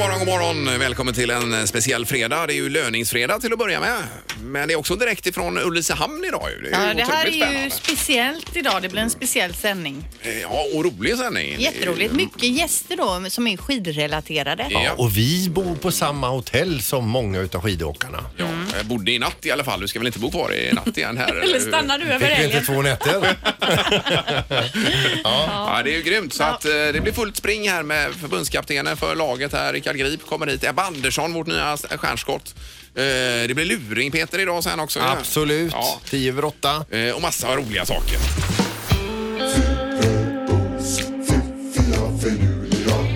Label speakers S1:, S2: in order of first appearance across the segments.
S1: morgon. Välkommen till en eh, speciell fredag. Det är ju löningsfredag till att börja med. Men det är också direkt ifrån Ulricehamn idag ju. Det är ju
S2: Ja, det här är
S1: otroligt
S2: ju
S1: spännande.
S2: speciellt idag. Det blir en speciell sändning.
S1: Eh, Ja, och rolig sändning.
S2: Jätteroligt. Mycket gäster då som är skidrelaterade.
S1: Ja.
S3: Och vi bor på samma hotell som många utav skidåkarna.
S1: Ja, Mm. jag bodde i natt i alla fall. Du ska väl inte bo kvar i natt igen här?
S4: Eller stannar du över
S3: Fick vi inte
S4: helgen?
S3: två nätter?
S1: Ja, det är ju grymt. Så att, eh, det blir fullt spring här med förbundskaptenen för laget här. Rickard Grip kommer hit. Ebba Andersson, vårt nya stjärnskott. Eh, Det blir luring Peter idag sen också.
S3: Absolut.
S1: Ja.
S3: Tio över åtta.
S1: Eh, Och massa roliga saker.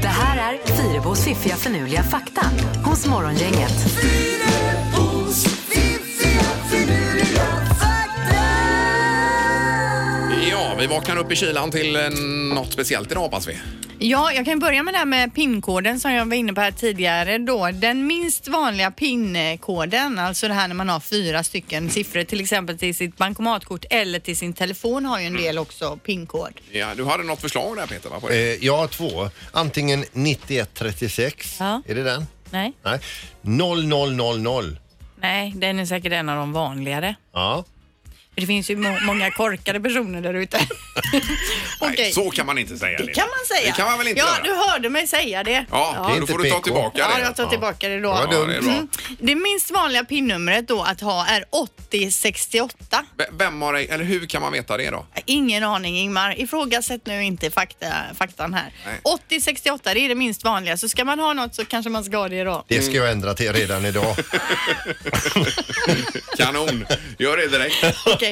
S5: Det här är Fyrabos fiffiga förnuliga fakta hos Morgongänget.
S1: Ja, vi vaknar upp i kylan till eh, något speciellt idag hoppas vi.
S2: Ja, jag kan börja med det här med PIN-koden som jag var inne på här tidigare då. Den minst vanliga PIN-koden, alltså det här när man har fyra stycken siffror till exempel till sitt bankomatkort eller till sin telefon har ju en del också PIN-kod.
S1: Ja, du hade något förslag där Peter? Va, på det?
S3: Eh, jag har två. Antingen 9136.
S2: Ja.
S3: Är det den?
S2: Nej,
S3: Nej. 0000.
S2: nej, den är säkert en av de vanligare.
S3: Ja.
S2: För det finns ju må- många korkade personer där ute. Okej.
S1: Nej, så kan man inte säga.
S2: Det kan man säga.
S1: Det kan man väl inte
S2: ja,
S1: göra?
S2: du hörde mig säga det.
S1: Ja,
S3: Det är
S1: då
S3: inte
S1: får du ta
S3: PK.
S1: tillbaka
S2: Ja,
S1: det.
S2: jag tar tillbaka det då.
S3: Ja,
S1: Ja, det är bra.
S2: Mm. Det minst vanliga pinnumret då att ha är 8068.
S1: V- Vem har, eller hur kan man veta det då?
S2: Ingen aning Ingmar. Ifrågasätt nu inte fakta, faktan här.
S1: Nej.
S2: 8068 det är det minst vanliga. Så ska man ha något så kanske man ska ha det då.
S3: Det ska
S1: Mm.
S3: jag ändra till redan idag.
S1: Kanon! Gör det direkt.
S2: Okej.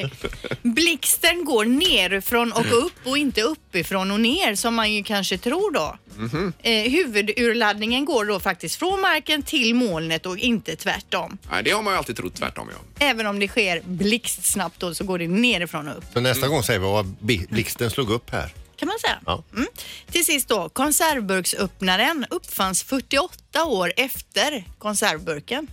S2: Blixten går nerifrån
S1: Mm.
S2: och upp och inte uppifrån och ner som man ju kanske tror då.
S1: Mhm.
S2: Eh, huvudurladdningen går då faktiskt från marken till molnet och inte tvärtom.
S1: Nej, det har man ju alltid trott tvärtom. Ja.
S2: Även om det sker blixtsnabbt då så går det nerifrån och upp.
S3: Så nästa gång säger vi vad bi- blixten slog upp här.
S2: Kan man säga.
S3: Ja.
S2: Mm. Till sist då, konservburksöppnaren uppfanns 48 år efter konservburken.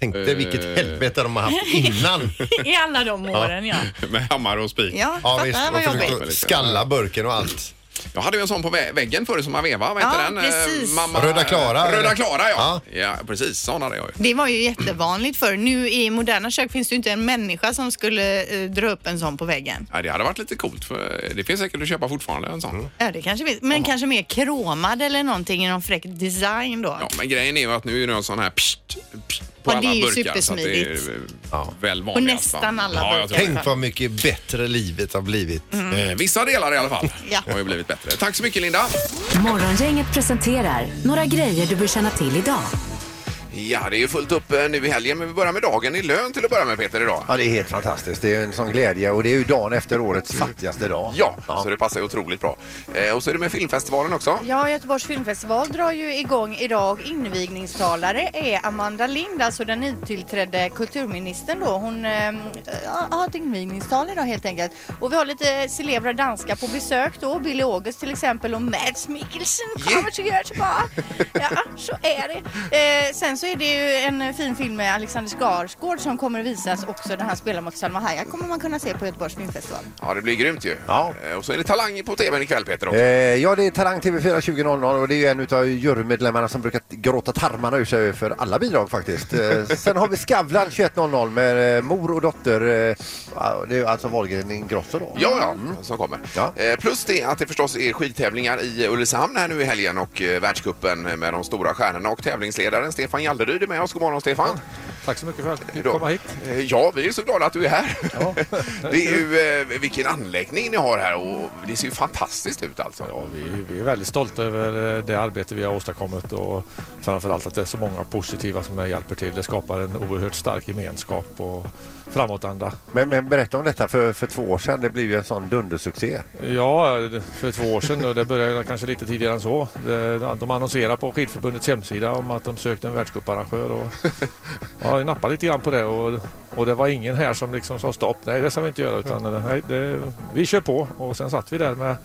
S3: Tänkte
S1: Eh.
S3: vilket helvete de har haft innan.
S2: I alla de åren ja.
S1: Med hammare och spik.
S2: Ja,
S3: Ja,
S2: fattar,
S3: visst.
S2: vad
S3: De
S2: jobbigt.
S3: försökte skalla burken och allt.
S1: Jag hade ju en sån på vä- väggen förut som man vevade. Vad
S2: Ja,
S1: heter den? Eh,
S2: precis.
S3: Röda Klara,
S1: Röda
S3: eller?
S1: Klara, ja. ja. precis. Sån hade jag ju.
S2: Det var ju jättevanligt för Nu i moderna kök finns det ju inte en människa som skulle eh, dra upp en sån på väggen.
S1: Ja, det hade varit lite coolt. För det finns säkert att köpa fortfarande en
S3: Mm.
S1: sån.
S2: Ja, det kanske finns. Men kanske mer kromad eller någonting i någon fräck design då.
S1: Ja, men grejen är ju att nu är det en sån här pst, pst, på
S2: Ja,
S1: alla
S2: det är ju
S1: burkar. Så att det är
S2: supersmidigt.
S1: ja. väl vanligt.
S2: Och nästan alla
S1: ja,
S2: burkar.
S1: jag tror det.
S3: Tänk vad mycket bättre livet har blivit.
S2: Mm.
S1: Eh, Vissa delar i alla fall
S2: Ja.
S1: har ju blivit bättre. Tack så mycket Linda.
S5: Morgongänget presenterar några grejer du bör känna till idag.
S1: Ja, det är ju fullt upp eh, nu i helgen, men vi börjar med dagen i lön till att börja med Peter idag.
S6: Ja, det är helt fantastiskt. Det är en sån glädje och det är ju dagen efter årets fattigaste dag.
S1: Ja, så det passar ju otroligt bra. Eh, och så är det med filmfestivalen också.
S2: Ja, Göteborgs filmfestival drar ju igång idag. Invigningstalare är Amanda Lind, alltså den nytillträdde kulturministern då. Hon eh, ja, har ett invigningstal idag helt enkelt. Och vi har lite celebra danskar på besök då. Billy August till exempel och Mads Mikkelsen kommer
S1: Yeah.
S2: till Göteborg. Ja, så är det. Eh, sen så är det ju en fin film med Alexander Skarsgård som kommer att visas också. Den här spelar mot Salma Hayek kommer man kunna se på Göteborgs filmfestival.
S1: Ja, det blir grymt ju.
S6: Ja.
S1: Eh, och så är det Talang på tvn ikväll Peter också.
S6: Eh, ja, det är Talang TV4 20.00 och det är ju en utav jurymedlemmarna som brukar gråta tarmarna ur sig för alla bidrag faktiskt. Eh, sen har vi Skavlan 21.00 med eh, mor och dotter. Eh, ja, det är ju alltså Wahlgren Ingrosso då.
S1: Ja, ja, som kommer.
S6: Ja.
S1: Eh, Plus det att det förstås är skidtävlingar i Ulricehamn här nu i helgen och eh, världscupen med de stora stjärnorna och tävlingsledaren Stefan Jalderyd är med oss. God morgon Stefan!
S7: Tack så mycket för att du
S1: Hur då?
S7: fick komma hit.
S1: Eh, Ja, vi är så glada att du är här. det är ju eh, vilken anläggning ni har här och det ser ju fantastiskt ut alltså.
S7: Ja, vi, vi är väldigt stolta över eh, det arbete vi har åstadkommit och framförallt att det är så många positiva som det hjälper till. Det skapar en oerhört stark gemenskap och framåtanda.
S6: Men, men berätta om detta för, för två år sedan. Det blev ju en sån dundersuccé.
S7: Ja, för två år sedan och det började kanske lite tidigare än så. Det- De annonserade på Skidförbundets hemsida om att de sökte en världscuparrangör och ja, jag nappade lite grann på det och, och det var ingen här som liksom sa stopp, nej det ska vi inte göra utan eh, nej, det, vi kör på och sen satt vi där med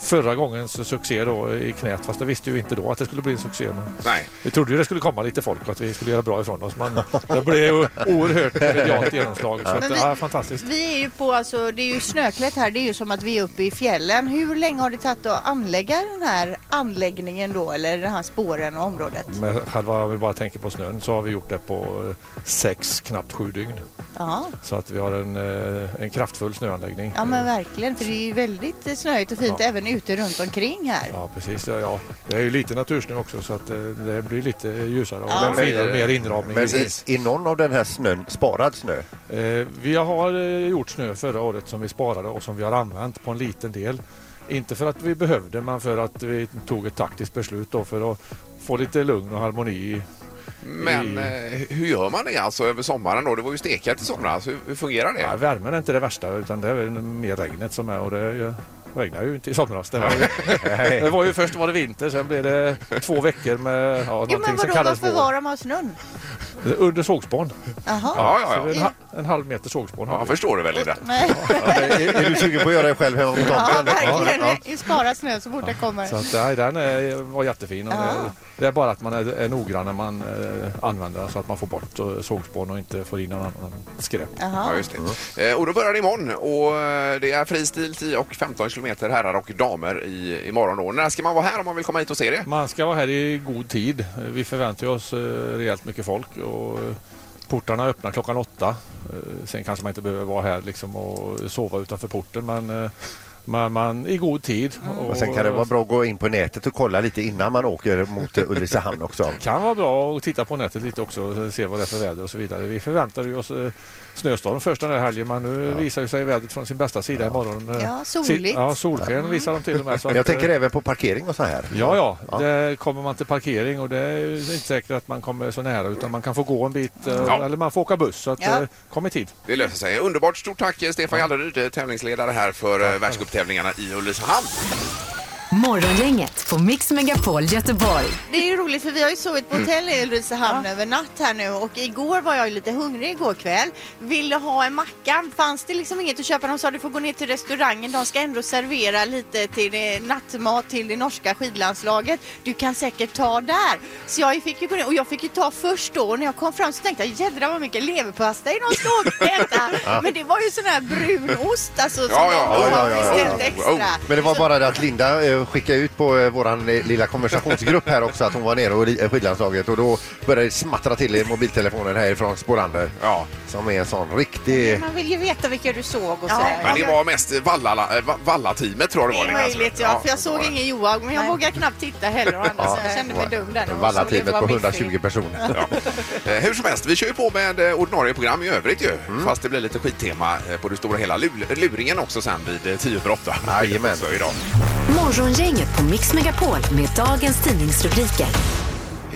S7: förra gångens succé då i knät. Fast det visste ju inte då att det skulle bli en succé. Men
S1: Nej.
S7: vi trodde ju det skulle komma lite folk och att vi skulle göra bra ifrån oss. Men det blev ju oerhört medialt genomslag. Så att,
S2: Men vi-
S7: ja, fantastiskt.
S2: Vi är ju på, alltså, det är ju snöklätt här, det är ju som att vi är uppe i fjällen. Hur länge har det tagit att anlägga den här anläggningen då, eller den här spåren och området?
S7: Med själva, om vi bara tänker på snön, så har vi gjort det på eh, sex, knappt sju dygn.
S2: Ja,
S7: Så att vi har en, eh, en kraftfull snöanläggning.
S2: ja men verkligen, för det är ju väldigt eh, snöigt och fint
S7: Ja.
S2: även ute runt omkring här.
S7: Ja, precis. Ja, ja. Det är ju lite natursnö också så att eh, det blir lite ljusare och
S2: Ja.
S7: finare och mer inramning.
S6: Men är,
S7: givetvis.
S6: är någon av den här snön sparad snö?
S7: Eh, Vi har eh, gjort snö förra året som vi sparade och som vi har använt på en liten del. Inte för att vi behövde men för att vi tog ett taktiskt beslut då för att få lite lugn och harmoni. i-
S1: Men eh, hur gör man det alltså över sommaren då? Det var ju stekhett i somras. Hur, hur fungerar det?
S7: Ja, värmen är inte det värsta utan det är väl mer regnet som är och det är ju- regnar ju inte i somras. Det var ju, det var ju först var det vinter sen blev det två veckor med ja,
S2: Jo
S7: någonting
S2: men
S7: som
S2: vadå,
S7: kallades
S2: varför
S7: vår.
S2: var de av snön?
S7: Under sågspån.
S2: Jaha.
S1: Ja, ja,
S7: Så
S1: ja.
S7: En, ha- en halv meter sågspån.
S1: Ja,
S7: har
S1: Jag
S7: vi.
S1: förstår det väl i det.
S2: Nej.
S6: är, är du sugen på att göra det själv hemma på
S2: Ja,
S6: tomten? Ja,
S2: verkligen. Spara snö så fort det kommer.
S7: Så att, nej, den är, var jättefin. Och
S2: Ja.
S7: det, det är bara att man är, är noggrann när man eh, använder den så att man får bort eh, sågspån och inte får in någon annan skräp.
S1: Ja,
S2: Jaha.
S1: just det. Eh, Och då börjar det imorgon och eh, det är fristil 10 och 15 kilometer herrar och damer i, imorgon då. När ska man vara här om man vill komma hit och se det?
S7: Man ska vara här i god tid. Eh, Vi förväntar ju oss eh, rejält mycket folk. Och, eh, Portarna öppnar klockan åtta. Eh, Sen kanske man inte behöver vara här liksom och sova utanför porten men eh, man, man, i god tid.
S6: Och Mm. sen kan det vara bra att gå in på nätet och kolla lite innan man åker mot eh, Ulricehamn också.
S7: kan vara bra att titta på nätet lite också och se vad det är för väder och så vidare. Vi förväntade ju oss eh, snöstorm först den här helgen men nu visar ju sig vädret från sin bästa sida imorgon. Eh,
S2: Ja, soligt.
S7: si- Ja, solsken visar de till och med. Så
S6: Men jag
S7: att, eh,
S6: tänker även på parkering och så här.
S7: Ja, ja.
S6: Ja.
S7: Det kommer man till parkering och det är ju inte säkert att man kommer så nära utan man kan få gå en bit eh,
S1: Ja.
S7: eller man får åka buss. Så att,
S2: Ja.
S7: eh, kom i tid.
S1: Det löser sig. Underbart. Stort tack eh, Stefan Galleryd, eh, tävlingsledare här för eh, världscuptävlingarna i Ulricehamn.
S5: Morgongänget på Mix Megapol Göteborg.
S2: Det är ju roligt för vi har ju sovit på hotell i Ulricehamn över natt här nu och igår var jag ju lite hungrig igår kväll. Ville ha en macka. Fanns det liksom inget att köpa? De sa du får gå ner till restaurangen. De ska ändå servera lite till eh, nattmat till det norska skidlandslaget. Du kan säkert ta där. Så jag fick ju gå ner och jag fick ju ta först då och när jag kom fram så tänkte jag jädrar vad mycket leverpastej de stod och hämta. Men det var ju sån här brunost alltså som
S1: Ja, ja,
S2: de
S1: ja,
S2: har
S6: ja, ja,
S2: beställt
S1: ja. Oh.
S2: extra.
S6: Men det var bara det att Linda eh, skickade ut på eh, våran eh, lilla konversationsgrupp här också att hon var nere och li- eh, skidlandslaget och då började det smattra till i mobiltelefonen härifrån Sporander.
S1: Ja.
S6: Som är en sån riktig...
S4: Man vill ju veta vilka du såg och
S2: Ja.
S4: sådär.
S1: Men det var mest Vallala- eh, Va- Valla-teamet tror jag det
S2: Det
S1: var.
S2: är
S1: Linda, tror jag.
S2: möjligt, ja, för jag
S1: så var
S2: såg
S1: det.
S2: ingen Johan, men jag vågar knappt titta heller. å Andra sidan. Jag kände mig dum där. när jag såg det. Det
S6: Valla-teamet
S2: var
S6: på
S2: mitt
S6: 120
S2: fel.
S6: personer.
S1: Ja. Eh, Hur som helst, vi kör ju på med eh, ordinarie program i övrigt ju.
S6: Mm.
S1: Fast det blir lite skittema eh, på det stora hela. Lul- Luringen också sen vid eh, 10 över 8.
S6: Jajamän.
S1: Så idag.
S5: Morgongänget på Mix Megapol med dagens tidningsrubriker.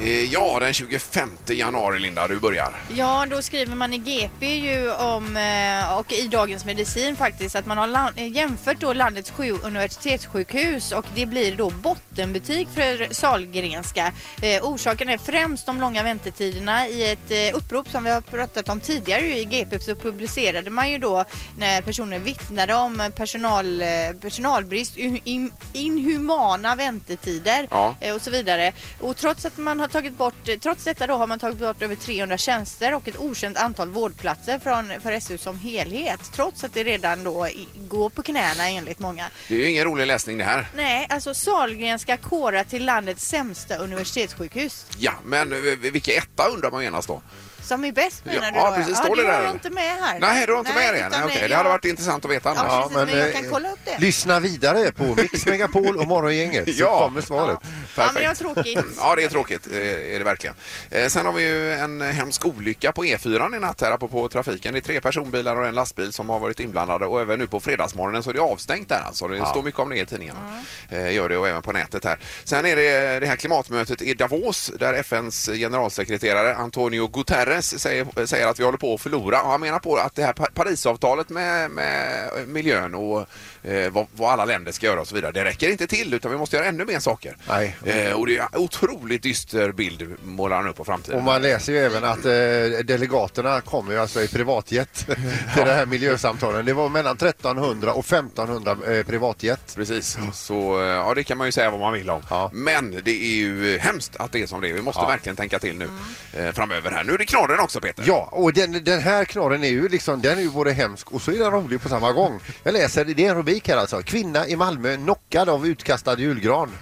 S1: Eh, Ja, den 25 januari Linda, du börjar.
S2: Ja, då skriver man i GP ju om, eh, och i Dagens Medicin faktiskt, att man har lan- eh, jämfört då landets sju universitetssjukhus och det blir då bottenbetyg för Sahlgrenska. Eh, Orsaken är främst de långa väntetiderna. I ett eh, upprop som vi har pratat om tidigare ju i GP så publicerade man ju då när personer vittnade om eh, personal, eh, personalbrist, in- in- inhumana väntetider
S1: Ja.
S2: eh, och så vidare. Och trots att man har tagit bort, eh, trots detta då har man tagit bort över 300 tjänster och ett okänt antal vårdplatser från, för SU som helhet. Trots att det redan då i- går på knäna enligt många.
S1: Det är ju ingen rolig läsning det här.
S2: Nej, alltså Sahlgrenska kåra till landets sämsta universitetssjukhus.
S1: Ja, men eh, vilka etta undrar man genast då?
S2: Som är bäst menar du
S1: ja,
S2: då?
S1: precis. Står det
S2: det har
S1: där?
S2: jag inte med här.
S1: Nej, du har inte med det?
S2: utan
S1: Nej, okej. Det
S2: jag-
S1: hade varit intressant att veta annars.
S2: Ja, precis, men jag
S6: eh,
S2: kan kolla upp det.
S6: Lyssna vidare på Mix Megapol och Morgongänget så
S1: Ja.
S6: kommer svaret.
S2: Ja, men det var
S1: Perfekt.
S2: tråkigt.
S1: Ja, det är tråkigt. eh, är det verkligen. Eh, Sen har vi ju en hemsk olycka på E4 i natt här på trafiken. Det är tre personbilar och en lastbil som har varit inblandade och även nu på fredagsmorgonen så är det avstängt där alltså. Det står mycket om det i tidningarna. Eh, Gör det och även på nätet här. Sen är det det här klimatmötet i Davos där FNs generalsekreterare Antonio Guterres Guterres säger, säger att vi håller på att förlora. Och han menar på att det här Pa- Parisavtalet med, med miljön och eh, vad, vad alla länder ska göra och så vidare, det räcker inte till utan vi måste göra ännu mer saker.
S6: Nej.
S1: Eh, och det är en otroligt dyster bild målar han upp på framtiden.
S6: Och man läser ju även att eh, delegaterna kommer ju alltså i privatjet till det här miljösamtalen. Det var mellan 1300 och 1500 eh, privatjet.
S1: Precis, så eh, ja, det kan man ju säga vad man vill om.
S6: Ja.
S1: Men det är ju hemskt att det är som det är. Vi måste verkligen tänka till
S2: Mm.
S1: nu eh, framöver här. Nu är det knorren också Peter.
S6: Ja, och den, den här knorren är ju liksom, den är ju både hemsk och så är den rolig på samma gång. Jag läser, det är en rubrik här alltså. Kvinna i Malmö knockad av utkastad julgran.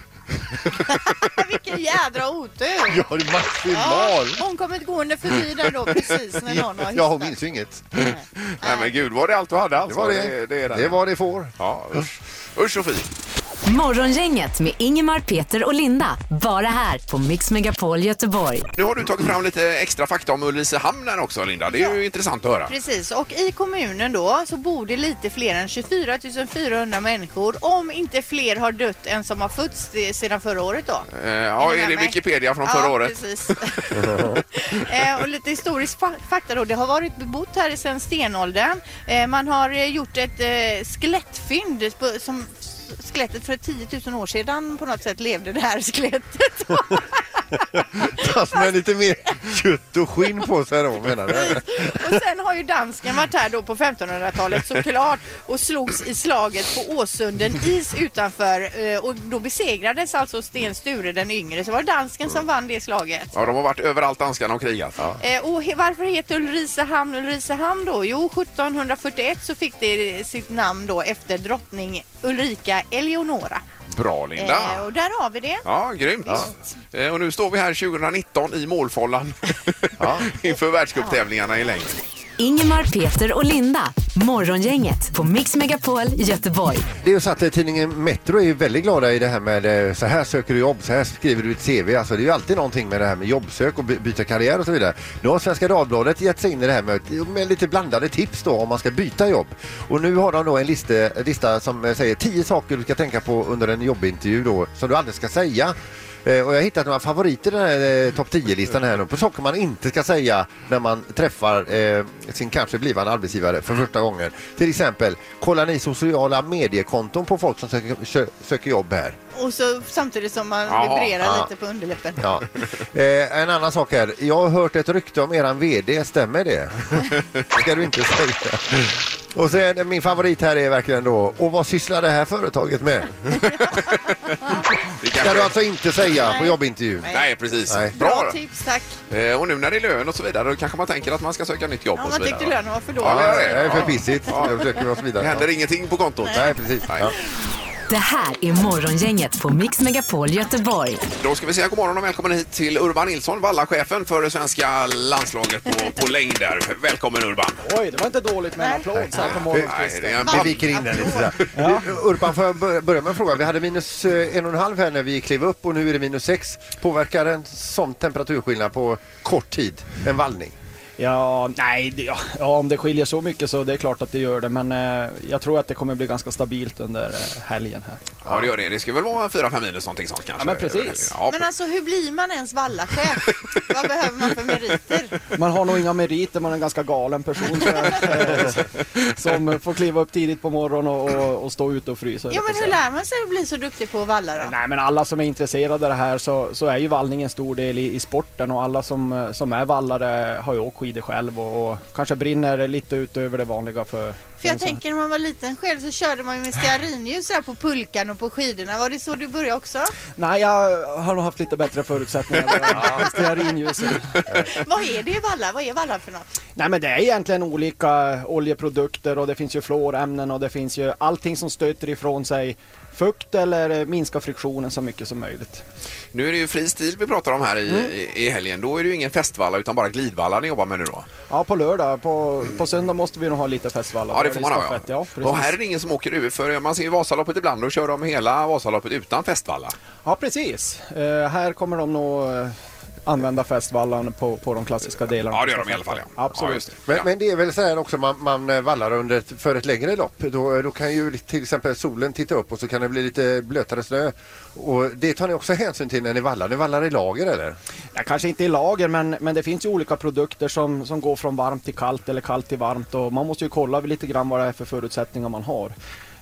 S2: Vilken jädra otur!
S6: Ja, det är maximal!
S2: hon kommer att gå under förbi där då precis när någon har
S6: Ja, hon
S2: hissat.
S6: minns ju inget.
S1: Nej men gud, var det allt du hade
S6: Det
S1: alltså?
S6: var det.
S1: det, är
S6: Det var det får.
S1: Ja, usch. Usch och fy.
S5: Morgongänget med Ingemar, Peter och Linda. Bara här på Mix Megapol Göteborg.
S1: Nu har du tagit fram lite extra fakta om Ulricehamn här också Linda. Det är ju intressant att höra.
S2: Precis, och i kommunen då så bor det lite fler än 24 400 människor om inte fler har dött än som har fötts det- sedan förra året då.
S1: Eh, ja, är det
S2: Nej.
S1: Wikipedia från förra
S2: ja,
S1: året?
S2: Precis. eh, och lite historisk fa- fakta då. Det har varit bebott här sedan stenåldern. Eh, man har eh, gjort ett eh, skelettfynd på- som s- skelettet för 10 000 år sedan på något sätt levde det här skelettet.
S6: Fast med lite mer kött och skinn på sig då menar du?
S2: Och sen har ju dansken varit här då på 1500-talet såklart och slogs i slaget på Åsunden is utanför eh, och då besegrades alltså Sten Sture den yngre så var det dansken som vann det slaget.
S1: Ja, de har varit överallt danskarna och krigat.
S2: Eh, och he, varför heter Ulricehamn Ulricehamn då? Jo, 1741 så fick det sitt namn då efter drottning Ulrika Eleonora.
S1: Bra Linda.
S2: Eh, och där har vi det.
S1: Ja, grymt. Eh, Och nu står vi här 2019 i målfållan inför världscuptävlingarna i längd.
S5: Ingemar, Peter och Linda. Morgongänget på Mix Megapol Göteborg.
S6: Det är ju så att eh, tidningen Metro är ju väldigt glada i det här med eh, så här söker du jobb, så här skriver du ditt CV. Alltså det är ju alltid någonting med det här med jobbsök och by- byta karriär och så vidare. Nu har Svenska Dagbladet gett sig in i det här med, med lite blandade tips då om man ska byta jobb. Och nu har de då en liste, lista som eh, säger 10 saker du ska tänka på under en jobbintervju då som du aldrig ska säga. Eh, Och jag har hittat några favoriter i den här eh, topp 10-listan här nu på saker man inte ska säga när man träffar eh, sin kanske blivande arbetsgivare för första gången. Till exempel, kollar ni sociala mediekonton på folk som söker, sö- söker jobb här?
S2: Och så samtidigt som man
S1: Ja,
S2: vibrerar
S6: ja.
S2: lite på underläppen.
S6: Ja. Eh, en annan sak här, jag har hört ett rykte om eran VD, stämmer det? Det ska du inte säga. Och sen eh, min favorit här är verkligen då, och vad sysslar det här företaget med?
S1: Det
S6: Ska
S1: kanske...
S6: du alltså inte säga på jobbintervjun.
S1: Nej, precis.
S6: Nej.
S1: Bra.
S2: tips, tack.
S1: Eh, Och nu när det är lön och så vidare, då kanske man tänker att man ska söka nytt jobb
S2: Ja,
S1: och
S2: man
S1: så
S2: tyckte
S1: vidare. va?
S2: lönen var för
S6: Ja,
S2: dålig.
S6: det är för pissigt. Jag försöker oss
S1: Det
S6: vidare.
S1: händer ingenting på kontot.
S6: Nej, precis.
S1: Nej.
S6: Ja.
S5: Det här är Morgongänget på Mix Megapol Göteborg.
S1: Då ska vi säga god morgon och välkommen hit till Urban Nilsson, vallachefen för det svenska landslaget på, på längd där. Välkommen Urban!
S4: Oj, det var inte dåligt med en applåd så här på
S1: Nej, det
S4: morgonkvisten.
S1: är en
S6: Vi viker in den lite sådär. Du, Urban, får jag bör- börja med en fråga? Vi hade minus eh, en och en halv här när vi klev upp och nu är det minus sex. Påverkar en sån temperaturskillnad på kort tid en vallning?
S4: Ja, nej, det, ja, ja, om det skiljer så mycket så det är klart att det gör det. Men eh, jag tror att det kommer bli ganska stabilt under eh, helgen här.
S1: Ja, det gör det. Det ska väl vara 4-5 minus någonting sånt kanske?
S4: Ja, men precis.
S1: Ja,
S2: Men alltså hur blir man ens vallachef? Vad behöver man för meriter?
S4: Man har nog inga meriter, man är en ganska galen person tror jag, eh, som får kliva upp tidigt på morgonen och, och, och stå ute och frysa.
S2: Ja, men hur lär man sig att bli så duktig på att valla då?
S4: Nej men alla som är intresserade av det här så, så är ju vallning en stor del i, i sporten och alla som, eh, som är vallare har ju åkt skidor själv och, och kanske brinner lite utöver det vanliga för...
S2: För
S4: en sån-
S2: jag tänker när man var liten själv så körde man ju med stearinljus här på pulkan och på skidorna. Var det så du började också?
S4: Nej, jag har nog haft lite bättre förutsättningar. med Stearinljuset.
S2: Vad är det i valla? Vad är valla för något?
S4: Nej men det är egentligen olika oljeprodukter och det finns ju fluorämnen och det finns ju allting som stöter ifrån sig fukt eller minskar friktionen så mycket som möjligt.
S1: Nu är det ju fri stil vi pratar om här i, i- i helgen. Då är det ju ingen festvalla utan bara glidvalla ni jobbar med nu då.
S4: Ja, på lördag. På, på söndag måste vi nog ha lite festivaler.
S1: Ja, det får man ha.
S4: Skaffet,
S1: Ja.
S4: Ja,
S1: och här
S4: precis.
S1: är det ingen som åker ur för man ser ju Vasaloppet ibland och kör de hela Vasaloppet utan festvalla.
S4: Ja, precis. Eh, här kommer de nog eh, använda fästvallan på, på de klassiska delarna.
S1: Ja, det gör de i alla fall. Ja. Ja,
S4: Absolut.
S1: just det.
S6: Men,
S1: ja.
S6: men det är väl så här också man, man eh, vallar under ett, för ett längre lopp. Då, då kan ju till exempel solen titta upp och så kan det bli lite blötare snö. Och det tar ni också hänsyn till när ni vallar. Ni vallar i lager eller?
S4: Ja, kanske inte i lager, men, men det finns ju olika produkter som, som går från varmt till kallt eller kallt till varmt och man måste ju kolla lite grann vad det är för förutsättningar man har.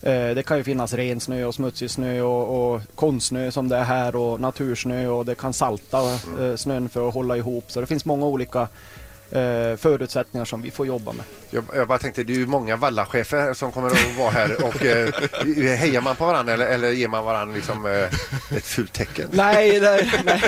S4: Eh, Det kan ju finnas ren snö och smutsig snö och, och konstsnö som det är här och natursnö och det kan salta
S1: Mm.
S4: eh, snön för att hålla ihop. Så det finns många olika eh, förutsättningar som vi får jobba med.
S6: Jag, jag bara tänkte, det är ju många vallachefer här som kommer att vara här och eh, hejar man på varandra eller, eller ger man varandra liksom, eh, ett fult tecken?
S4: Nej, nej, nej.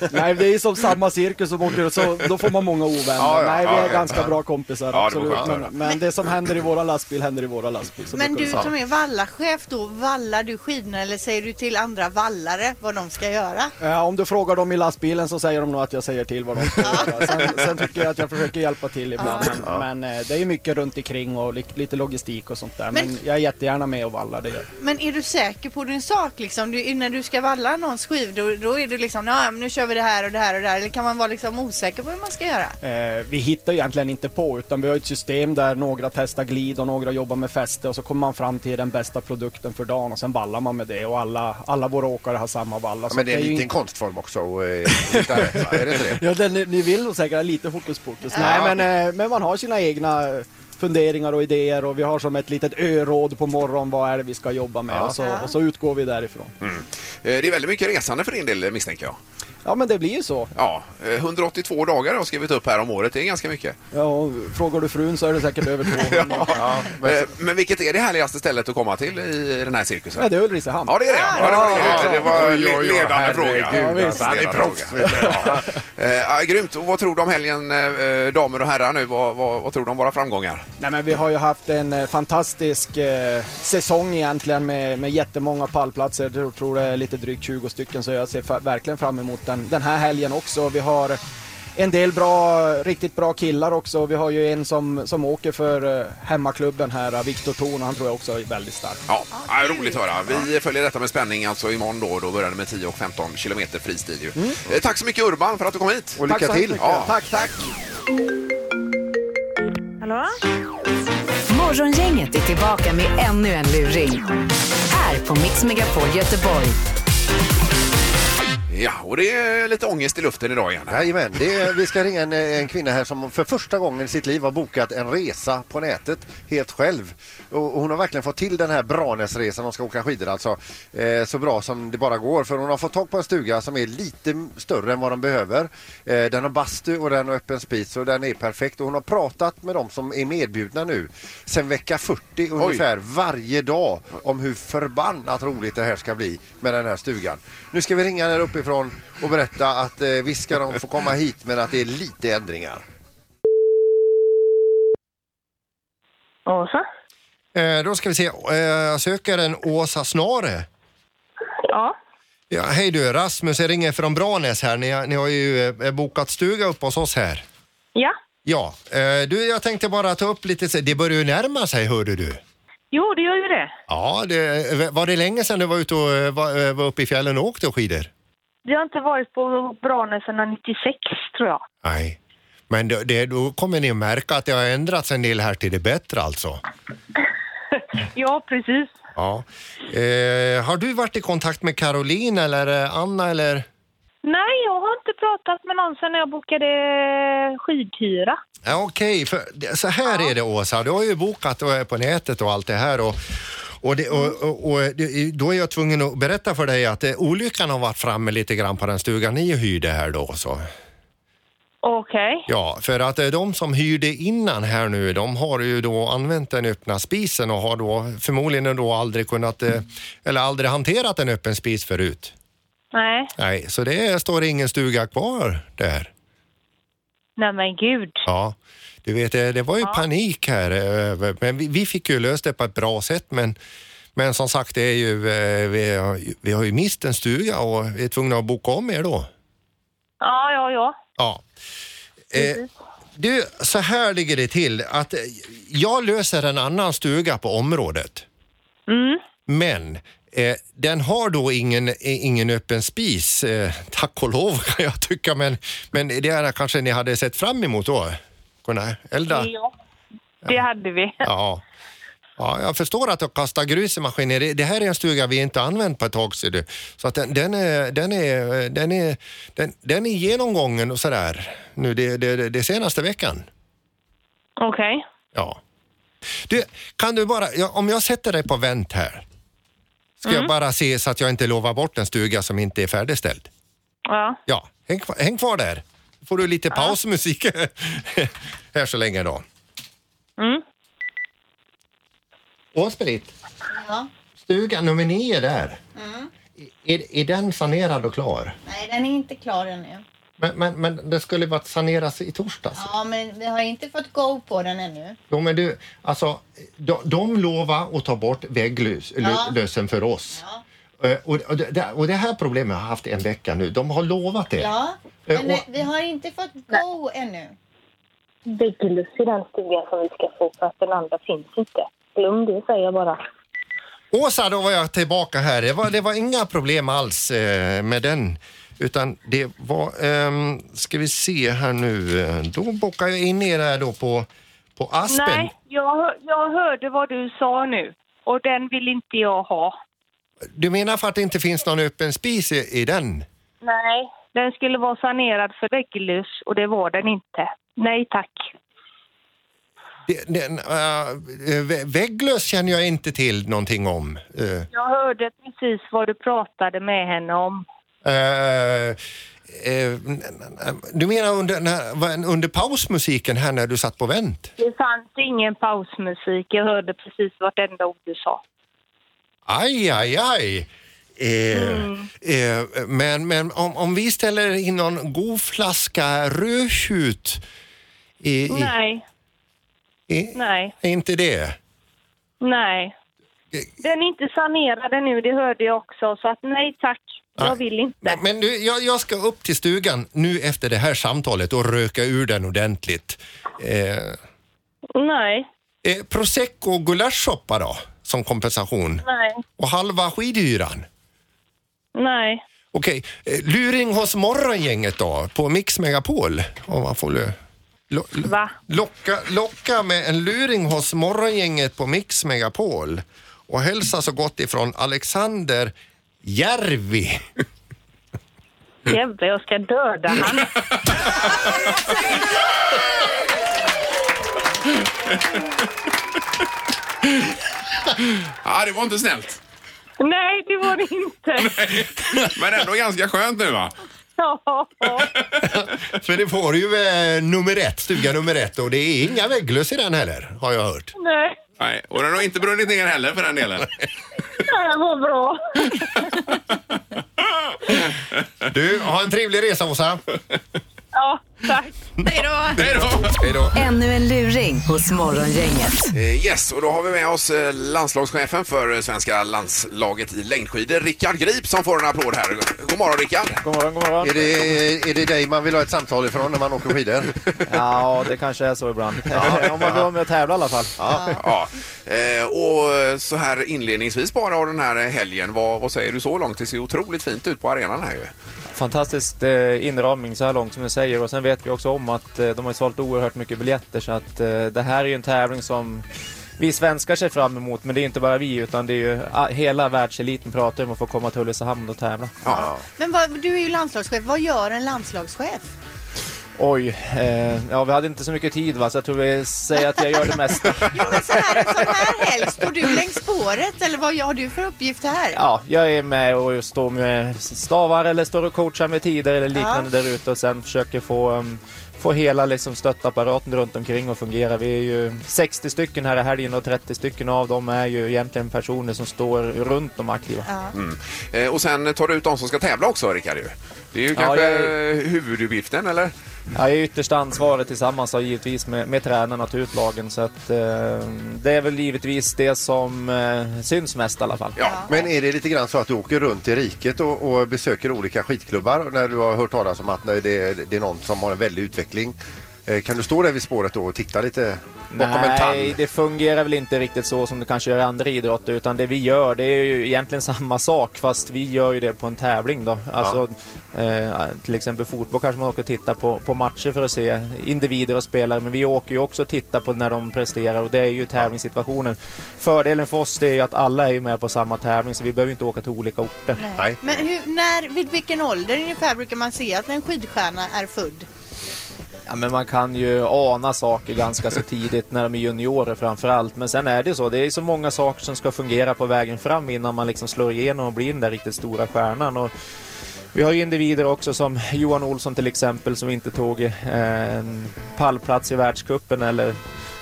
S4: nej, det är ju som samma cirkus som åker och så då får man många ovänner.
S1: Ja, ja,
S4: nej, vi är
S1: ja, ja.
S4: ganska bra kompisar,
S1: Ja, det var
S4: absolut.
S1: skönt att höra.
S4: Men, men det som händer i våra lastbil händer i våra lastbil. så
S2: Men
S4: brukar
S2: du
S4: det vara.
S2: som är vallachef då, vallar du skidorna eller säger du till andra vallare vad de ska göra?
S4: Ja, Eh, om du frågar dem i lastbilen så säger de nog att jag säger till vad de ska göra. Sen, sen tycker jag att jag försöker hjälpa till ibland. Men, men, eh, det är ju mycket runt omkring och li- lite logistik och sånt där. Men,
S2: Men-
S4: jag är jättegärna med och vallar. Det gör. jag.
S2: Men är du säker på din sak liksom? Du, när du ska valla någons skidor, då är du liksom, "Nå, men nu kör vi det här och det här och det här. Eller kan man vara liksom osäker på hur man ska göra?
S4: Eh, vi hittar ju egentligen inte på utan vi har ett system där några testar glid och några jobbar med fäste och så kommer man fram till den bästa produkten för dagen och sen vallar man med det och alla, alla våra åkare har samma valla.
S6: Ja,
S4: så
S6: men det är en
S4: ju
S6: liten
S4: inte-
S6: konstform också. Och, eh, hitta rätt, va? är det inte det?
S4: Ja, den, ni vill nog säkert ha lite hokus pokus. Nej, men, eh, men man har sina egna funderingar och idéer och vi har som ett litet öråd på morgonen vad är det vi ska jobba med och, så, och så utgår vi därifrån.
S1: Eh, Det är väldigt mycket resande för din del eh, misstänker jag.
S4: Ja, men det blir ju så.
S1: Ja, eh, 182 dagar har jag skrivit upp här om året. Det är ganska mycket.
S4: Ja, och frågar du frun så är det säkert över 200.
S1: Ja, men... Eh, men vilket är det härligaste stället att komma till i den här cirkusen?
S4: Ja, det är Ulricehamn.
S1: Ja, det är det. Ja, det var,
S6: Ja,
S1: det var
S6: oj, oj, oj,
S1: ledande
S6: herregud,
S1: fråga.
S6: alltså,
S4: Ja, visst.
S6: han är proffs,
S1: Ledande fråga. Ja. Eh, Grymt. Och vad tror du om helgen, eh, damer och herrar nu? Vad, vad, vad tror du om våra framgångar?
S4: Nej, men vi har ju haft en eh, fantastisk eh, säsong egentligen med, med jättemånga pallplatser. Jag tror det är lite drygt 20 stycken så jag ser fa- verkligen fram emot den, den här helgen också. Vi har en del bra, riktigt bra killar också. Vi har ju en som, som åker för eh, hemmaklubben här, eh, Viktor Thorn. Han tror jag också är väldigt stark.
S1: Ja, ja, roligt att höra. Vi följer detta med spänning alltså imorgon då. Då börjar det med 10 och 15 kilometer fristil ju. Eh, Tack så mycket Urban för att du kom hit.
S6: Och
S4: Tack så
S6: lycka
S4: hemskt
S6: till!
S4: mycket.
S1: Ja.
S4: Tack, tack!
S8: Hallå?
S5: Morgongänget är tillbaka med ännu en luring. Här på Mix Megapol Göteborg.
S1: Ja, och det är lite ångest i luften idag igen.
S6: Jajamän, det är, vi ska ringa en, en kvinna här som för första gången i sitt liv har bokat en resa på nätet helt själv. Och, och hon har verkligen fått till den här Branäsresan, hon ska åka skidor alltså, eh, så bra som det bara går. För hon har fått tag på en stuga som är lite m- större än vad de behöver. Eh, den har bastu och den har öppen spis och den är perfekt. Och hon har pratat med de som är medbjudna nu sen vecka 40 ungefär varje dag om hur förbannat roligt det här ska bli med den här stugan. Nu ska vi ringa ner uppifrån och berätta att eh, visst ska de få komma hit men att det är lite ändringar.
S8: Åsa?
S3: Eh, då ska vi se, eh, jag söker en Åsa Snare.
S8: Ja.
S3: Ja, hej du, Rasmus, jag ringer från Branäs här. Ni, ni har ju eh, bokat stuga upp hos oss här.
S8: Ja.
S3: Ja, eh, du, jag tänkte bara ta upp lite, så- det börjar ju närma sig hörde du.
S8: Jo, det gör ju det.
S3: Ja, det, eh, var det länge sedan du var ute och eh, var, eh, var uppe i fjällen och åkte skidor?
S8: Vi har inte varit på Branäs sedan 96, tror jag.
S3: Nej. Men då, det, då kommer ni att märka att det har ändrats en del här till det bättre alltså.
S8: Ja, precis.
S3: Ja. Eh, har du varit i kontakt med Caroline eller eh, Anna eller?
S8: Nej, jag har inte pratat med någon sedan jag bokade skidhyra.
S3: Ja, okej, för det- så här är det Åsa, du har ju bokat och är på nätet och allt det här och, och, det, och, och, och det, då är jag tvungen att berätta för dig att eh, olyckan har varit framme lite grann på den stugan ni hyrde här då. Så.
S8: Okej.
S3: Ja, för att eh, de som hyrde innan här nu, de har ju då använt den öppna spisen och har då förmodligen då aldrig kunnat, eh, eller aldrig hanterat en öppen spis förut.
S8: Nej.
S3: Nej, så det är- står ingen stuga kvar där.
S8: Nej, men gud.
S3: Ja, du vet eh, det var ju panik här, eh, men vi, vi fick ju löst det på ett bra sätt men men som sagt, det är ju, eh, vi, har, ju- vi har ju mist en stuga och vi är tvungna att boka om er då.
S8: Ja, ja, ja.
S3: Ja. Eh, du, så här ligger det till att eh, jag löser en annan stuga på området. Men
S6: Eh, den har då ingen, eh, ingen öppen spis, eh, tack och lov kan jag tycka, men, men det är kanske ni hade sett fram emot då? Kunna elda?
S8: Ja, det hade vi.
S6: Ja. ja, jag förstår att de kastar grus i maskiner. Det- Det här är en stuga vi inte använt på ett tag, ser du. Så att den, den, är, den, är, den, är, den, den är genomgången och sådär nu det, det, det- det senaste veckan.
S8: Okej.
S6: Ja. Du, kan du bara, ja, om jag sätter dig på vänt här, ska jag bara se så att jag inte lovar bort en stuga som inte är färdigställd?
S8: Ja.
S6: Ja, häng, kvar- häng kvar där. Får du lite pausmusik här så länge då.
S8: Mm.
S6: Åsbrit,
S2: Ja. Mm.
S6: stuga nummer nio där. I- Är, är den sanerad och klar?
S2: Nej, den är inte klar ännu.
S6: Men, men, men det skulle varit saneras i torsdags.
S2: Ja, men vi har inte fått go på den ännu.
S6: Jo, men du, alltså, de, de lovar att ta bort
S2: Ja.
S6: vägglösen för oss. Eh, Och, och, det, och det här problemet har jag haft en vecka nu. De har lovat det.
S2: Ja,
S6: Eh,
S2: men
S6: och-
S2: vi, vi har inte fått go ännu.
S9: Bygglus i den stugan som vi ska få för att den andra finns inte. Glöm det säger jag bara.
S6: Åsa, då var jag tillbaka här. Det var, det var inga problem alls eh, med den. Utan det var, ehm, ska vi se här nu, eh, då bockar jag in er här då på, på Aspen.
S8: Nej, jag, hör- jag hörde vad du sa nu och den vill inte jag ha.
S6: Du menar för att det inte finns någon öppen spis i, i den?
S9: Nej.
S8: Den skulle vara sanerad för vägglöss och det var den inte. Nej tack.
S6: Det- Den, eh, vä- vägglös känner jag inte till någonting om. Eh,
S8: Jag hörde precis vad du pratade med henne om.
S6: eh, eh, n- n- du menar under, när, vad- under pausmusiken här när du satt på vänt?
S8: Det fanns ingen pausmusik. Jag hörde precis vartenda ord du sa.
S6: Aj, aj, aj. Eh, eh, men men om, om vi ställer in någon god flaska rödtjut, i, i,
S8: Nej,
S6: i,
S8: nej,
S6: är inte det?
S8: nej. Den är inte sanerad nu, det hörde jag också. Så att nej tack, jag vill inte.
S6: Men, men du, jag, jag ska upp till stugan nu efter det här samtalet och röka ur den ordentligt. Eh,
S8: Nej,
S6: eh, prosecco och gulaschsoppa då, som kompensation.
S8: nej,
S6: Och halva skidhyran.
S8: nej.
S6: Okej, eh, luring hos morgongänget då, på Mix Megapol. Om man får lu- lo- lo-
S8: Va?
S6: Locka, locka med en luring hos morgongänget på Mix Megapol. Och hälsa så gott ifrån Alexander Järvi.
S8: Jävlar, jag ska döda han.
S1: Ja, det var inte snällt.
S8: Nej, det var det inte.
S1: Men ändå ganska skönt nu va?
S8: Ja.
S6: För det får ju eh, nummer ett, stuga nummer ett och det är inga vägglöss i den heller, har jag hört.
S8: Nej,
S1: Nej, och den har inte brunnit ner heller för den delen.
S8: det var bra.
S6: Du, ha en trevlig resa Åsa.
S8: Ja, tack.
S2: Hej då!
S1: Hej då!
S6: Hej då.
S5: Ännu en luring hos Morgongänget.
S1: Eh, Yes, och då har vi med oss eh, landslagschefen för eh, svenska landslaget i längdskidor, Rickard Grip, som får en applåd här. God morgon Rickard!
S10: God morgon, god morgon.
S11: Är det, är det dig man vill ha ett samtal ifrån när man åker skidor?
S10: Ja, det kanske är så ibland. Om man vill vara med och tävla i alla fall.
S1: Ja. Eh, Och eh, så här inledningsvis bara av den här eh, helgen, vad, vad säger du så långt? Det ser otroligt fint ut på arenan här ju.
S12: fantastisk eh, inramning så här långt som du säger och sen vet vi också om att eh, de har ju sålt oerhört mycket biljetter så att eh, det här är ju en tävling som vi svenskar ser fram emot men det är inte bara vi utan det är ju ah, hela världseliten pratar om att få komma till Ulricehamn och tävla.
S1: Ja.
S2: Men vad, du är ju landslagschef. Vad gör en landslagschef?
S12: Oj, eh, ja vi hade inte så mycket tid va så jag tror vi säger att jag gör det mesta.
S2: Jo, men så här, en sån här helg, står du längs spåret eller vad har du för uppgift här?
S12: Ja, jag är med och står med stavar eller står och coachar med tider eller liknande där ute och sen försöker få, um, få hela liksom stöttapparaten runt omkring att fungera. Vi är ju 60 stycken här i helgen och 30 stycken av dem är ju egentligen personer som står runt de aktiva.
S1: Eh, Och sen tar du ut de som ska tävla också Rickard ju. Det är ju
S12: Ja,
S1: kanske
S12: jag-
S1: eh, huvuduppgiften eller?
S12: Jag är ytterst ansvarig tillsammans då, givetvis med, med tränarna och utlagen så att eh, det är väl givetvis det som eh, syns mest i alla fall.
S1: Ja.
S11: Men är det lite grann så att du åker runt i riket och, och besöker olika skidklubbar när du har hört talas om att nej, det, det är någon som har en väldig utveckling
S6: Eh, Kan du stå där vid spåret då och titta lite bakom en
S12: Nej,
S6: tall?
S12: det fungerar väl inte riktigt så som det kanske gör i andra idrotter utan det vi gör det är ju egentligen samma sak fast vi gör ju det på en tävling då. Alltså, eh, till exempel fotboll kanske man åker och tittar på, på matcher för att se individer och spelare men vi åker ju också och tittar på när de presterar och det är ju tävlingssituationen. Fördelen för oss det är ju att alla är ju med på samma tävling så vi behöver ju inte åka till olika orter.
S6: Nej.
S2: Men hur, när, vid vilken ålder ungefär brukar man se att en skidstjärna är född?
S12: Ja, men man kan ju ana saker ganska så tidigt när de är juniorer framför allt. Men sen är det så, det är så många saker som ska fungera på vägen fram innan man liksom slår igenom och blir den där riktigt stora stjärnan. Och vi har ju individer också som Johan Olsson till exempel som inte tog eh, en pallplats i världskuppen eller,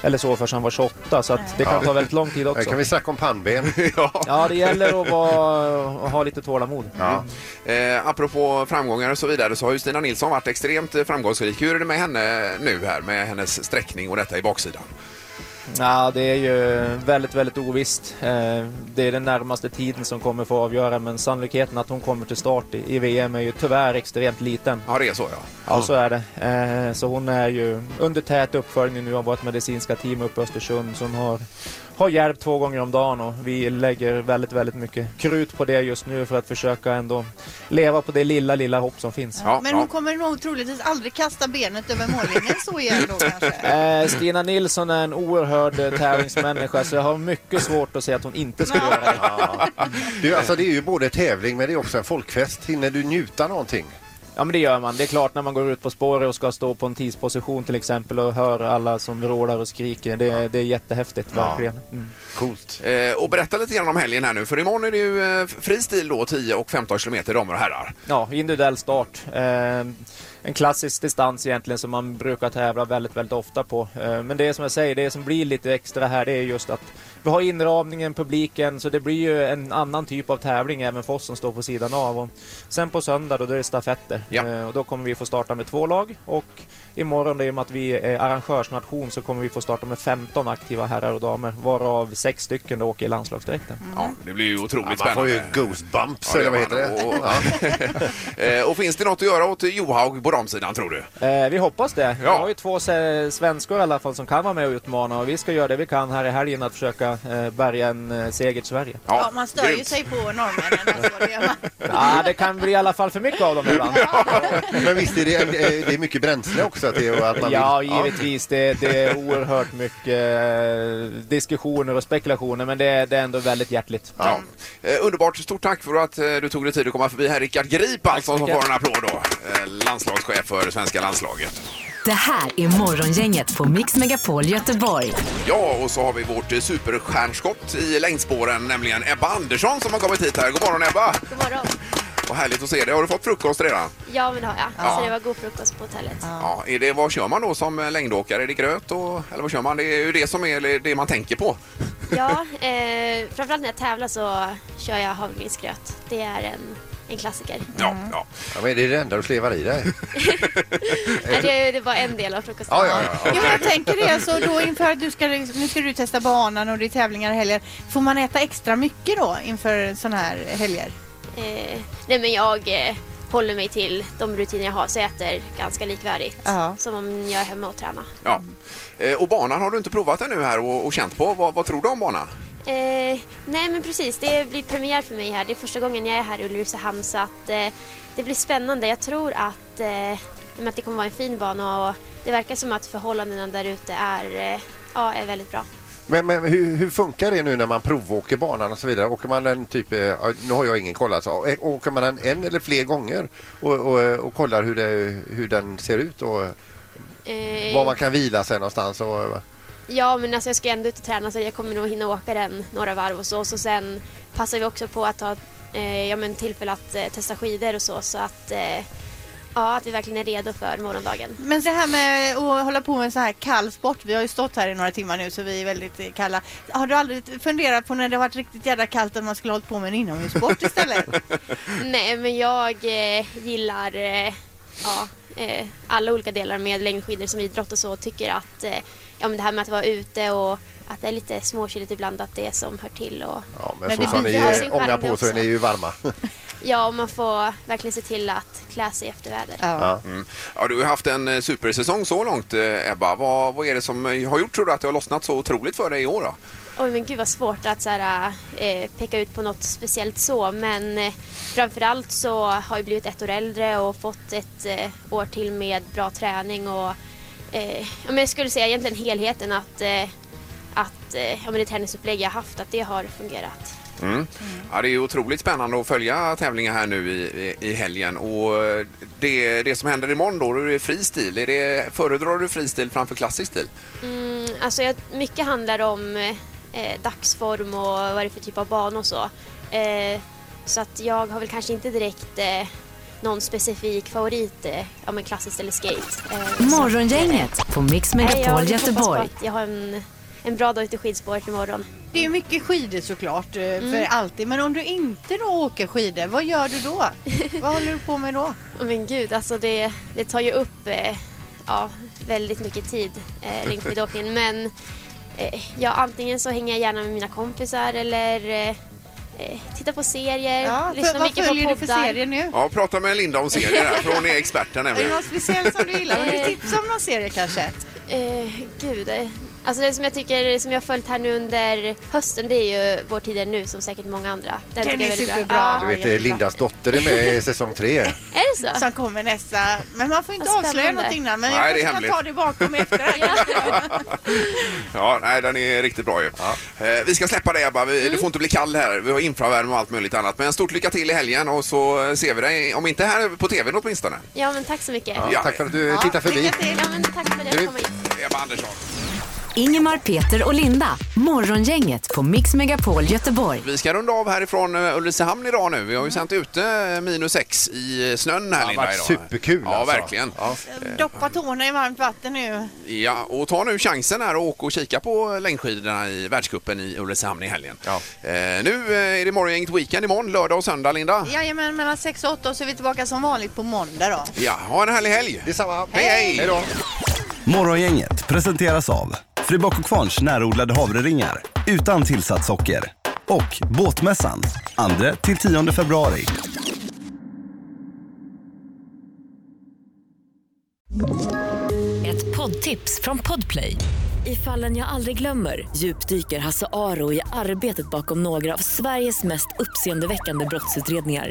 S12: eller så förrän han var 28. Så att det kan
S6: Ja.
S12: ta väldigt lång tid också.
S6: Här kan vi snacka om pannben.
S12: Ja, det gäller att vara, att ha lite tålamod.
S1: Ja. Eh, apropå framgångar och så vidare så har ju Stina Nilsson varit extremt eh, framgångsrik. Hur är det med henne nu här med hennes sträckning och detta i baksidan?
S12: Ja, det är ju väldigt, väldigt ovisst. Eh, Det är den närmaste tiden som kommer få avgöra, men sannolikheten att hon kommer till start i i VM är ju tyvärr extremt liten.
S1: Ja, det är så ja.
S12: Ja, så är det. Eh, Så hon är ju under tät uppföljning nu av vårt medicinska team uppe i Östersund som har, har hjälp två gånger om dagen och vi lägger väldigt, väldigt mycket krut på det just nu för att försöka ändå leva på det lilla, lilla hopp som finns.
S2: Men hon kommer nog troligtvis aldrig kasta benet över mållinjen så igen då kanske.
S12: Eh, Stina Nilsson är en oerhörd eh, tävlingsmänniska så jag har mycket svårt att se att hon inte skulle göra det.
S6: Du, alltså, det är ju både tävling men det är också en folkfest. Hinner du njuta någonting?
S12: Ja men det gör man. Det är klart när man går ut på spåret och ska stå på en tidsposition till exempel och hör alla som vrålar och skriker. Det, det är jättehäftigt verkligen. Mm.
S6: Coolt.
S1: Eh, och berätta lite grann om helgen här nu för imorgon är det ju eh, fri stil då 10 och 15 kilometer damer och herrar.
S12: Ja, individuell start. Eh, en klassisk distans egentligen som man brukar tävla väldigt, väldigt ofta på. Eh, men det är som jag säger, det som blir lite extra här det är just att vi har inramningen, publiken, så det blir ju en annan typ av tävling även för oss som står på sidan av. Och sen på söndag då, då är det stafetter eh, och då kommer vi få starta med två lag och imorgon, i och med att vi är arrangörsnation, så kommer vi få starta med 15 aktiva herrar och damer, varav sex stycken då åker i landslagsdräkten.
S1: Ja, det blir ju otroligt
S6: Mm. Ja, man får
S1: spännande.
S6: ju goosebumps
S1: Ja, det
S6: eller vad
S1: gör
S6: heter det?
S1: man. Och, eh, och finns det något att göra åt Johaug på damsidan tror du?
S12: Eh, vi hoppas det. Vi har ju två se- svenskor i alla fall som kan vara med och utmana och vi ska göra det vi kan här i helgen att försöka eh, bärga en eh, seger till Sverige.
S2: Ja, man stör ju sig på norrmännen alltså. Det gör man.
S12: Ja, det kan bli i alla fall för mycket av dem ibland.
S6: Men visst är det, eh, det är mycket bränsle också? Att det, och att man
S12: Ja,
S6: vill,
S12: givetvis. Det, det är oerhört mycket eh, diskussioner och spekulationer men det, är- det är ändå väldigt hjärtligt.
S1: Ja. Eh, underbart, stort tack för att eh, du tog dig tid att komma förbi här. Rickard Grip alltså, som
S12: mycket.
S1: får en applåd då. Eh, landslagschef för svenska landslaget.
S5: Det här är Morgongänget på Mix Megapol Göteborg.
S1: Ja, och så har vi vårt eh, superstjärnskott i längdspåren, nämligen Ebba Andersson som har kommit hit här. God morgon Ebba!
S13: God morgon.
S1: Vad härligt att se dig. Har du fått frukost redan?
S13: Ja, men det har jag.
S1: Ja.
S13: Så Alltså, det var god frukost på hotellet.
S1: Ja, är det, vad kör man då som eh, längdåkare? Är det gröt och, eller vad kör man? Det är ju det som är eller det man tänker på.
S13: Ja, eh, framförallt när jag tävlar så kör jag havregrynsgröt. Det är en, en klassiker.
S1: Ja,
S2: Mm.
S1: ja.
S6: ja, men det är det enda du slevar i dig.
S13: Nej, det, det var en del av frukosten.
S6: Ja, ja, ja.
S2: Jo, men jag tänker det. Så då inför att du ska, nu ska du testa banan och det är tävlingar i helger. Får man äta extra mycket då inför sådana här helger?
S13: Eh, nej, men jag eh, håller mig till de rutiner jag har så jag äter ganska likvärdigt som om jag är hemma och tränar.
S1: ja. Eh, och banan har du inte provat ännu här och, och känt på. Vad, vad tror du om banan?
S13: Eh, nej, men precis. Det blir premiär för mig här. Det är första gången jag är här i Ulricehamn så att eh, det blir spännande. Jag tror att, eh, nej, men att det kommer vara en fin bana och det verkar som att förhållandena där ute är, eh, ja, är väldigt bra.
S6: Men, men hur, hur funkar det nu när man provåker banan och så vidare? Åker man den typ, eh, ja, nu har jag ingen koll alltså, Ä- åker man den en eller fler gånger och, och, eh, och kollar hur, det, hur den ser ut och
S13: Eh,
S6: var man kan vila sig någonstans? Och,
S13: Ja, men alltså jag ska ändå ut och träna så jag kommer nog hinna åka den några varv och så. Och så sen passar vi också på att ha eh, ja, men tillfälle att eh, testa skidor och så. Så att, eh, ja, att vi verkligen är redo för morgondagen.
S2: Men det här med att hålla på med en så här kall sport. Vi har ju stått här i några timmar nu så vi är väldigt eh, kalla. Har du aldrig funderat på när det har varit riktigt jävla kallt att man skulle ha hållit på med en inomhussport istället?
S13: Nej, men jag eh, gillar eh, ja, eh, alla olika delar med längdskidor som idrott och så. Tycker att eh, ja, men det här med att vara ute och att det är lite småkyligt ibland, att det är som hör till. Och...
S6: ja, men,
S13: Men
S6: så
S13: det
S6: som
S13: blir
S6: ni
S13: ju- har sin
S6: eh, ångar
S13: charm det
S6: på så är
S13: också.
S6: ni ju varma.
S13: Ja, och man får verkligen se till att klä sig efter väder.
S1: Ja. Mm. ja, du har haft en eh, supersäsong så långt eh, Ebba. Vad, vad är det som eh, har gjort tror du att det har lossnat så otroligt för dig i år då?
S13: Oj men gud vad svårt att så här, eh, peka ut på något speciellt så men eh, framförallt så har jag blivit ett år äldre och fått ett eh, år till med bra träning och eh, ja, men jag skulle säga egentligen helheten att, eh, att eh, ja, men det träningsupplägg jag haft att det har fungerat.
S1: Mm. Ja, det är ju otroligt spännande att följa tävlingar här nu i, i, i helgen. Och eh, det, det som händer imorgon då, då är det fristil. Är det, föredrar du fristil framför klassisk stil?
S13: Mm, alltså jag, mycket handlar om eh, dagsform och vad det är för typ av bana och så. Eh, så att jag har väl kanske inte direkt eh, någon specifik favorit, eh, ja men klassiskt eller skate. Eh, så-
S5: Morgongänget på Mix
S13: Nej, jag
S5: Megapol
S13: hoppas på
S5: Göteborg.
S13: att Jag har en, en bra dag ute i skidspåret imorgon.
S2: Det är ju mycket skidor såklart eh, för alltid. Men om du inte då åker skidor, vad gör du då? vad håller du på med då?
S13: Men gud, alltså det, det tar ju upp eh, ja, väldigt mycket tid, eh, längdskidåkningen. Men eh, ja, antingen så hänger jag gärna med mina kompisar eller eh, eh, tittar på serier,
S2: Ja, för-
S13: lyssnar
S2: vad
S13: mycket på poddar.
S2: följer du för serier nu?
S1: Ja, prata med Linda om serien här, för hon är experten
S2: Är det
S1: nämligen.
S2: något speciellt som du gillar? Vill du
S13: Eh.
S2: tipsa om någon serie kanske?
S13: Eh, gud. eh, Alltså det som jag tycker, som jag har följt här nu under hösten, det är ju Vår tid är nu som säkert många andra.
S2: Den
S13: tycker jag
S2: är
S13: väldigt bra.
S2: superbra.
S13: Ja.
S6: Du vet, eh, Lindas dotter är med i säsong tre.
S13: Är det så?
S2: Som kommer nästa. Men man får inte
S13: Vad
S2: avslöja
S13: spännande.
S2: något innan. Men
S1: Nej, det
S2: jag
S1: är
S2: kanske kan
S1: hemligt.
S2: ta det bakom efter.
S1: Ja, nej, den är riktigt bra ju. Eh, vi ska släppa dig Ebba, vi, du får inte bli kall här. Vi har infravärme och allt möjligt annat. Men stort lycka till i helgen och så eh, ser vi dig, om inte här på tvn åtminstone.
S13: ja, men tack så mycket.
S1: Ja, tack för att du
S13: ja,
S1: tittar förbi.
S13: lycka till. Ja, men tack för det.
S1: Du-
S13: Jag kommer hit.
S1: Ebba Andersson.
S5: Ingemar, Peter och Linda. Morgongänget på Mix Megapol Göteborg.
S1: Vi ska runda av härifrån eh, Ulricehamn idag nu. Vi har ju sänt ute eh, minus sex i eh, snön här Linda
S6: varit
S1: idag.
S6: superkul,
S1: Ja,
S6: alltså.
S1: verkligen. Ja.
S2: Doppa tårna i varmt vatten nu.
S1: ja, och ta nu chansen här och åka och kika på längdskidorna i världscupen i Ulricehamn i helgen. Eh, nu eh, är det morgongänget weekend imorgon, lördag och söndag Linda.
S2: Jajamän, mellan 6 och 8 och så är vi tillbaka som vanligt på måndag då.
S1: Ja, ha en härlig helg! Detsamma! Hej, hej! hej då.
S14: Morgongänget presenteras av Fribock och Kvarns närodlade havreringar utan tillsatt socker och Båtmässan 2-10 februari.
S15: Ett poddtips från Podplay. I fallen jag aldrig glömmer djupdyker Hasse Aro i arbetet bakom några av Sveriges mest uppseendeväckande brottsutredningar.